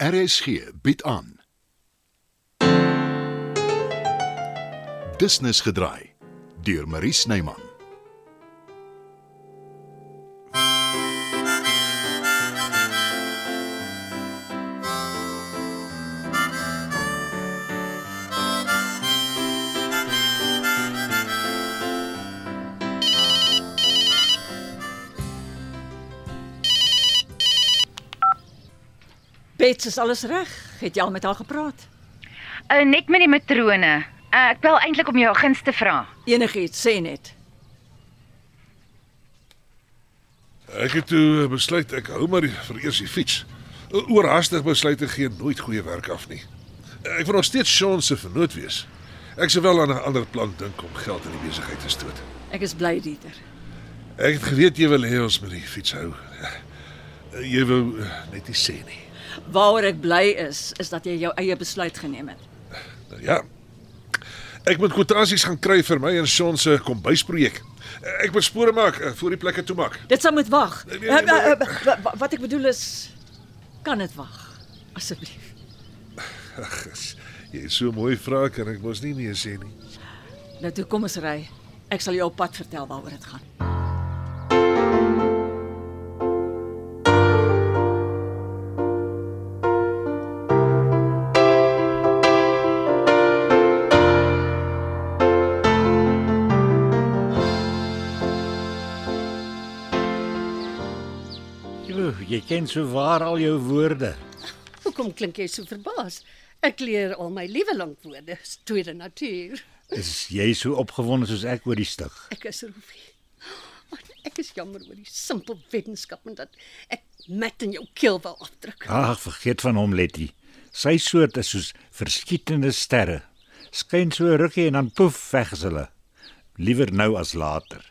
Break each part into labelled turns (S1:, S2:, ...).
S1: RSG bied aan. Business gedraai deur Marie Snyman.
S2: Bets, is alles reg? Het jy al met haar gepraat?
S3: Uh, net met die matrone. Uh, ek bel eintlik om jou guns te vra.
S2: Enigiets sê net.
S4: Ek het toe besluit ek hou maar die- vir eers die fiets. Oorhaastig besluite gee nooit goeie werk af nie. Ek wil nog steeds Sean se vernoot wees. Ek sou wel aan 'n ander plan dink om geld in die besigheid te stoot.
S2: Ek is bly, Dieter.
S4: Ek het geweet jy wil hê ons moet die fiets hou. Jy wou eh, net nie sê nie.
S2: Waaroor ek bly is, is dat jy jou eie besluit geneem het.
S4: Nou ja. Ek moet kwotasies gaan kry vir my en Sean se kombuisprojek. Ek moet spore maak eh, voor die plekke toe maak.
S2: Dit sal moet wag.
S4: Nee, nee, nee, nee.
S2: Eh, eh, eh, wa- wa- Wat ek bedoel is kan dit wag asseblief.
S4: Ag, is- jy het so mooi vrae kan ek mos nie nee sê nie.
S2: Nou toe kom ons ry. Ek sal jou op pad vertel waaroor dit gaan.
S5: Jo, jy ken so waar al jou woorde.
S6: Hoekom klink jy so verbaas? Ek leer al my lewe lank woorde, is tweede natuur.
S5: Is jy so opgewonde soos ek oor die stig?
S6: Ek is Rufie. Ag, Ek is jammer oor die simpel wetenskap en dat ek mat in jou keel wou afdruk.
S5: Ag, vergeet van hom, Letty. Sy soort is soos verskietende sterre. Skyn so 'n rukkie en dan poef weg is hulle. Liewer nou as later.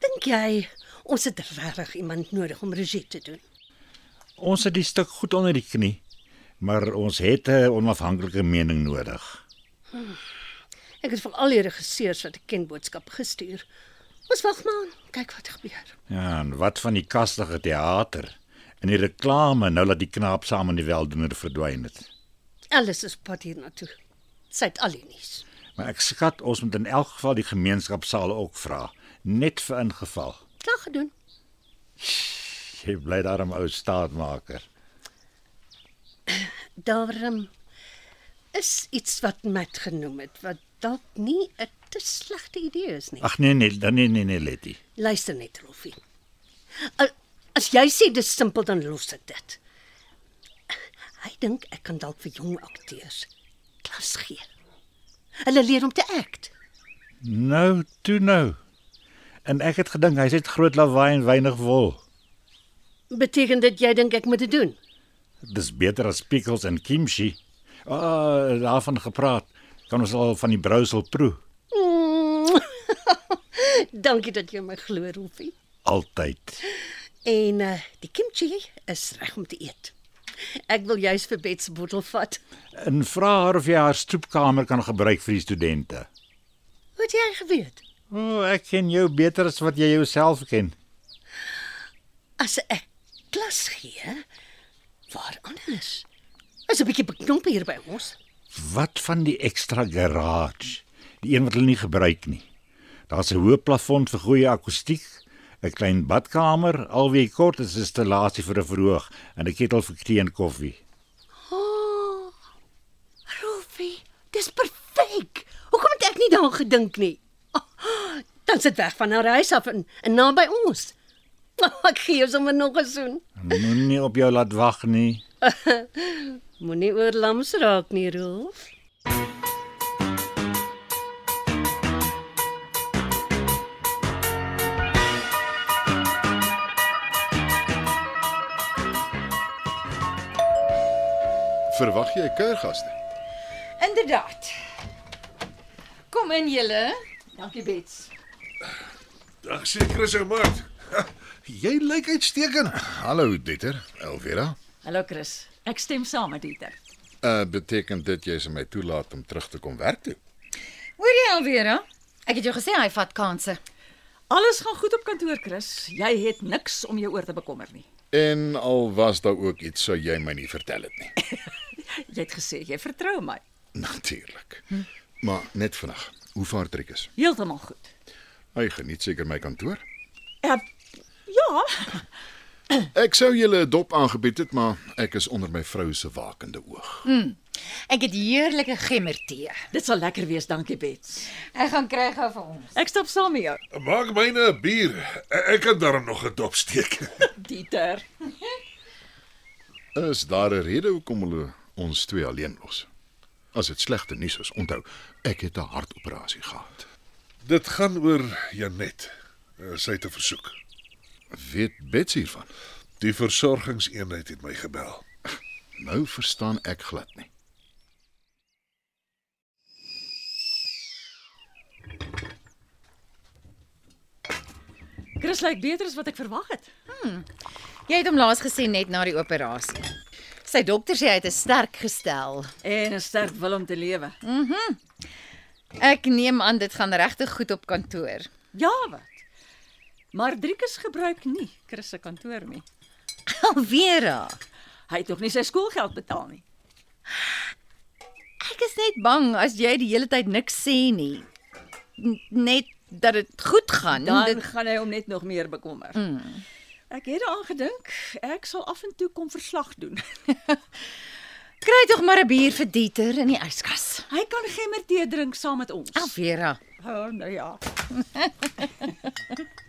S6: Dink jy ons het regtig iemand nodig om regie te doen?
S5: Ons het die stuk goed onder die knie, maar ons het 'n onafhanklike mening nodig.
S6: Ek het vir al die regisseurs wat ek ken boodskap gestuur. Ons wag maar, kyk wat gebeur.
S5: Ja, en wat van die kastige teater en die reklame nou dat die knaap saam in die weldoener verdwyn het.
S6: Alles is pad hiernatoe. Sy het al die nuus.
S5: Maar ek skat ons moet in elk geval die gemeenskapsaal ook vra, net vir ingeval.
S6: Klaar gedoen.
S5: Jy bly daarom ou staatmaker.
S6: Daarom is iets wat Matt genoem het wat dalk nie 'n te slegte idee is nie.
S5: Ag nee nee, dan nee nee nee Letty.
S6: Luister net, Rolfie. A- As jy sê dis simpel dan los ek dit. Hy dink ek kan dalk vir jong akteurs klas gee. Hulle leer om te act.
S5: Nou, toe nou. En ek het gedink hy's net groot lawaai en weinig wol.
S6: Beteken dit jy dink ek moet dit doen?
S5: Dis beter as pickles en kimchi. Ah, oh, daarvan gepraat. Kan ons al van die brousel proe?
S6: Mm. Dankie dat jy my glo, Rolfie.
S5: Altyd.
S6: En uh, die kimchi is reg om te eet. Ek wil juis vir Bet se bottel vat.
S5: En vra haar of jy haar stoepkamer kan gebruik vir die studente.
S6: Wat jy geweet?
S5: O, oh, ek ken jou beter as wat jy jouself ken.
S6: As ek klas gee, waar anders? Is 'n bietjie beknop hier by ons.
S5: Wat van die ekstra garage? Die een wat hulle nie gebruik nie. Daar's 'n hoë plafon vir goeie akoestiek, 'n klein badkamer, alweer kort is 'n installasie vir 'n verhoog en 'n ketel vir tee en koffie.
S6: Oh, Rolfie, dis perfek. Hoekom het ek nie daaraan gedink nie? Oh, dan sit weg van haar huis af en, en na by ons. Oh, ek gee jou sommer nog 'n soen.
S5: Moenie op jou laat wag nie.
S6: Moenie oor lams raak nie, Rolf.
S1: Verwag jy kuiergaste?
S7: Inderdaad. Kom in julle.
S2: Dankie Bets.
S4: Ag sê Chris ou maat. Jy lyk uitstekend.
S1: Hallo Dieter, Elvira.
S2: Hallo Chris. Ek stem saam met Dieter.
S1: Uh beteken dit jy is my toelaat om terug te kom werk toe?
S7: Hoor jy alweer, hè? Ek het jou gesê hy vat kansse.
S2: Alles gaan goed op kantoor, Chris. Jy het niks om jou oor te bekommer nie.
S1: En al was daar ook iets sou jy my nie vertel het nie.
S2: Jy het gesê jy vertrou my.
S1: Natuurlik. Maar net vinnig. Hoe vaar Trikus?
S2: Heeltemal goed.
S1: Hy geniet seker my kantoor.
S2: Uh, ja,
S1: Ek sou julle 'n dop aangebied het, maar ek is onder my vrou se wakende oog.
S7: Ek het heerlike gemmertee.
S2: dit sal lekker wees, dankie Bets.
S7: Ek gaan kry gou vir ons.
S2: Ek stap saam met jou,
S4: Maak myne 'n bier. E- Ek kan daarom nog 'n dop steek.
S2: Dieter.
S1: Is daar 'n rede hoekom hulle ons twee alleen los? As dit slegte nuus is, onthou, ek het 'n hartoperasie gehad.
S4: Dit gaan oor Janet. Eh, Sy het 'n versoek.
S1: Weet Betsy hiervan?
S4: Die versorgingseenheid het my gebel.
S1: Nou verstaan ek glad nie.
S2: Chris lyk beter as wat ek verwag het.
S7: Jy het hom laas gesien net na die operasie. Sy dokter sê hy het 'n sterk gestel.
S2: En 'n sterk wil om te lewe.
S7: Ek neem aan dit gaan regtig goed op kantoor.
S2: Ja, wat? Maar Driekus gebruik nie Chris se kantoor nie.
S7: Alvera,
S2: Hy het nog nie sy skoolgeld betaal nie.
S7: ek is net bang as jy die hele tyd niks sê nie. N net dat dit goed gaan.
S2: Dan
S7: dit,
S2: gaan hy hom net nog meer bekommer. Mm. Ek het daaraan gedink, ek sal af en toe kom verslag doen.
S7: kry tog maar 'n bier vir Dieter in die yskas.
S2: hy kan gemmertee drink saam met ons.
S7: Alvera,
S2: Oh, nou ja.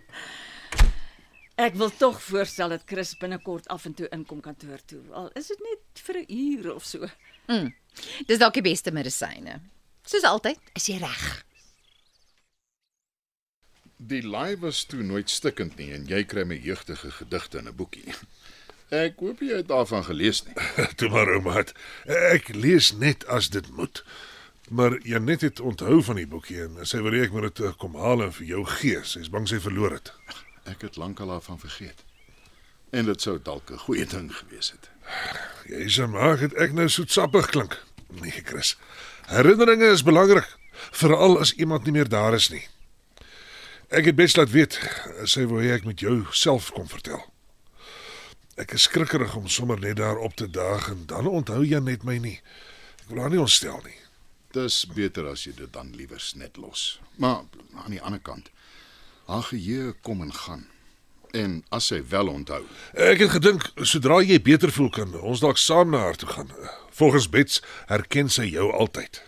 S2: ek wil tog voorstel dat Chris binnekort af en toe inkom kantoor toe. Al is dit net vir 'n uur of so.
S7: dis dalk die beste medisyne. Soos altyd, is jy reg.
S1: Die laai was toe nooit stikkend nie en jy kry my jeugtige gedigte in 'n boekie. Ek hoop jy het daarvan gelees nie.
S4: Toe maar ou maat. Ek lees net as dit moet. Maar Janet het onthou van die boekie en sy wil hê ek moet dit eh, kom haal en vir jou gee. Sy's bang sy verloor dit.
S1: Ek het lankal daarvan vergeet. En dit sou dalk 'n goeie ding gewees het.
S4: Jy se maak dit ek nou soetsappig klink. Nee, Chris. Herinneringe is belangrik, veral as iemand nie meer daar is nie. Ek het bes laat weet sy wou hê ek moet jou self kom vertel. Ek is skrikkerig om sommer net daar op te daag en dan onthou jy net my nie. Ek wil haar nie ontstel nie.
S1: Dis beter as jy dit dan liewer net los. Maar aan die ander kant, haar geheue kom en gaan. En as sy wel onthou,
S4: Ek het gedink sodra jy beter voel kan ons dalk saam na haar toe gaan. Volgens Bets herken sy jou altyd.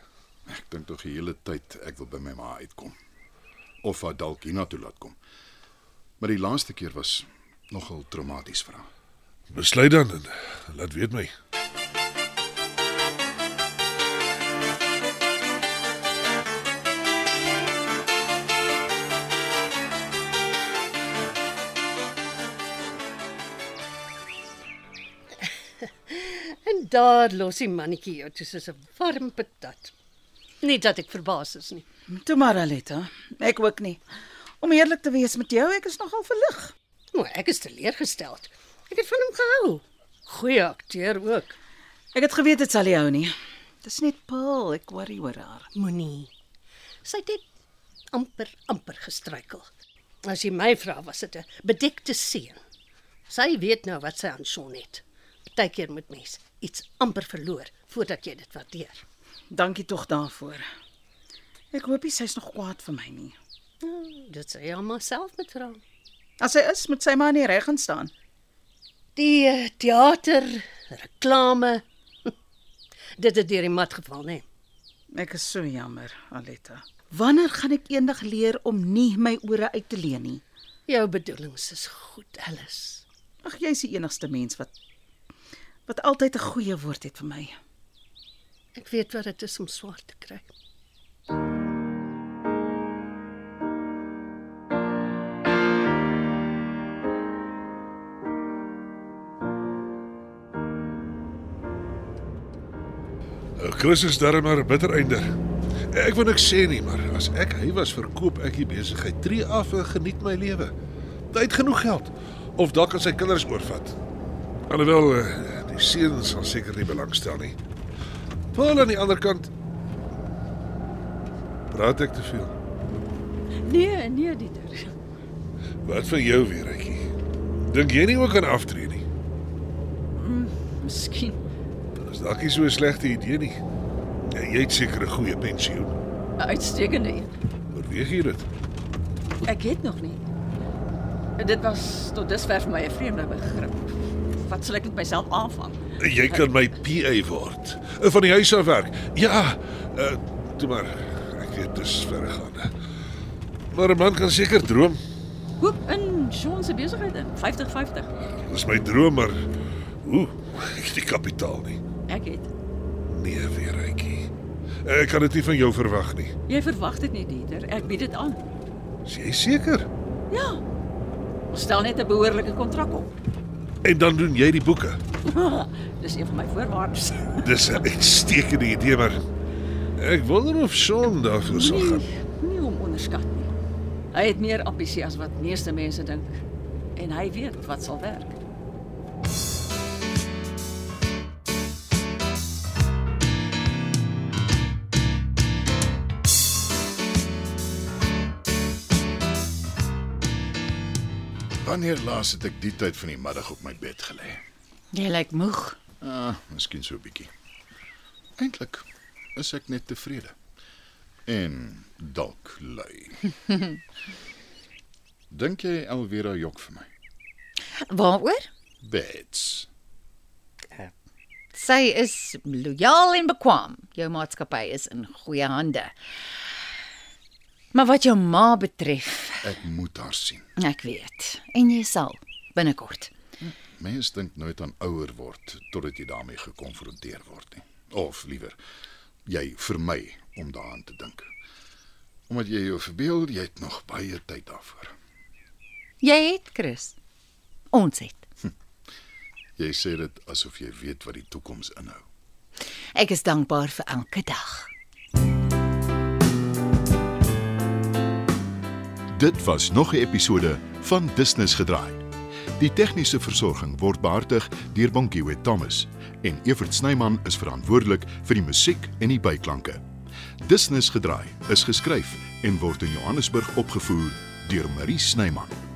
S1: ek dink tog die hele tyd ek wil by my ma uitkom of haar dalk hiernatoe laat kom. Maar die laaste keer was nogal traumaties vir haar.
S4: Besluit dan en laat weet my.
S6: En daar los die mannetjie jou toe soos 'n warm patat. Nie dat ek verbaas is nie.
S8: Toe maar Aletta, ek ook nie. Om eerlik te wees met jou, ek is nogal verlig.
S6: Maar ek is teleurgesteld. Ek het van hom gehou. Goeie akteur ook.
S8: Ek het geweet dit sal nie hou nie. Dis net Paul, ek worry oor haar.
S6: Moenie. Sy het net amper amper gestruikel. As jy my vra, was dit 'n bedekte seën. Sy weet nou wat sy aan son het. Partykeer moet mens iets amper verloor voordat jy dit waardeer.
S8: Dankie tog daarvoor. Ek hoop nie sy's nog kwaad vir my nie.
S6: Nou, dit sê jy alself met vra.
S8: As sy is, moet sy maar nie reg gaan staan.
S6: Die eh, teater, reklame. dit het deur die mat geval, né? Nee.
S8: Ek is so jammer, Aletta. Wanneer gaan ek eendag leer om nie my ore uit te leen nie?
S6: Jou bedoelings is goed, Alice.
S8: Ag, jy's die enigste mens wat wat altyd 'n goeie woord het vir my.
S6: Ek weet wat dit is om swaar te kry.
S4: Chris is darm maar 'n bitter einder. Ek wil niks sê nie, maar as ek hy was, verkoop ek die besigheid tree af en geniet my lewe. Hy het genoeg geld of dalk kan sy kinders oorvat. Alhoewel eh, die seun sal seker nie belangstel nie. Paul aan die ander kant praat ek te veel.
S2: Nee, nee Dieter.
S4: Wat van jou weer, Ekkie? Dink jy nie ook aan aftree nie?
S2: Miskien.
S4: Dis dalk nie so 'n slegte idee nie. Ja, Jy het seker 'n goeie pensioen.
S2: 'n Uitstekende een.
S4: Oorweeg jy dit?
S2: Ek het nog nie. Dit was tot dusver vir my 'n vreemde begrip. Wat sal ek met myself aanvang?
S4: Jy kan my PA word. Eh, Van die huis af werk. Ja, uh, toe maar. Ek weet dis verregaande. Maar 'n man kan seker droom.
S2: Hoop in Sean se besigheid in 50-50.
S4: Dis my droom, maar ooh, ek het nie kapitaal nie.
S2: Ek het.
S4: Nee, weer rykie. Ek kan dit nie van jou verwag nie.
S2: Jy verwag dit nie, Dieter. Ek bied dit aan.
S4: Is jy seker?
S2: Ja. Ons stel net 'n behoorlike kontrak op. Ah,
S4: En dan doen jy die boeke.
S2: Dis een van my voorwaardes.
S4: Dis 'n uitstekende idee, maar ek wonder of Sean daarvoor sal gaan.
S2: Nee, nie om onderskat nie. Hy het meer ambisie as wat meeste mense dink en hy weet wat sal werk.
S1: Wanneer laas het ek die tyd van die middag op my bed gelê?
S7: Jy lyk moeg.
S1: Ah, miskien so 'n bietjie. Eintlik is ek net tevrede. En dalk lui. Dink jy Elvira jok vir my?
S7: Waaroor?
S1: Bets.
S7: Sy is lojaal en bekwam. Jou maatskappy is in goeie hande. Maar wat jou ma betref,
S1: Ek moet haar sien.
S7: ek weet, en jy sal binnekort.
S1: Mense dink nooit aan ouer word totdat jy daarmee gekonfronteer word nie. Of liewer, jy vermy om daaraan te dink. Omdat jy jou verbeel jy het nog baie tyd daarvoor.
S7: Jy het Chris. Ons het.
S1: Jy sê dit asof jy weet wat die toekoms inhou.
S7: Ek is dankbaar vir elke dag.
S9: Dit was nog 'n episode van Business Gedraai. Die tegniese versorging word behartig deur Bonnie Witt Thomas en Evert Snyman is verantwoordelik vir die musiek en die byklanke. Business Gedraai is geskryf en word in Johannesburg opgevoer deur Marie Snyman.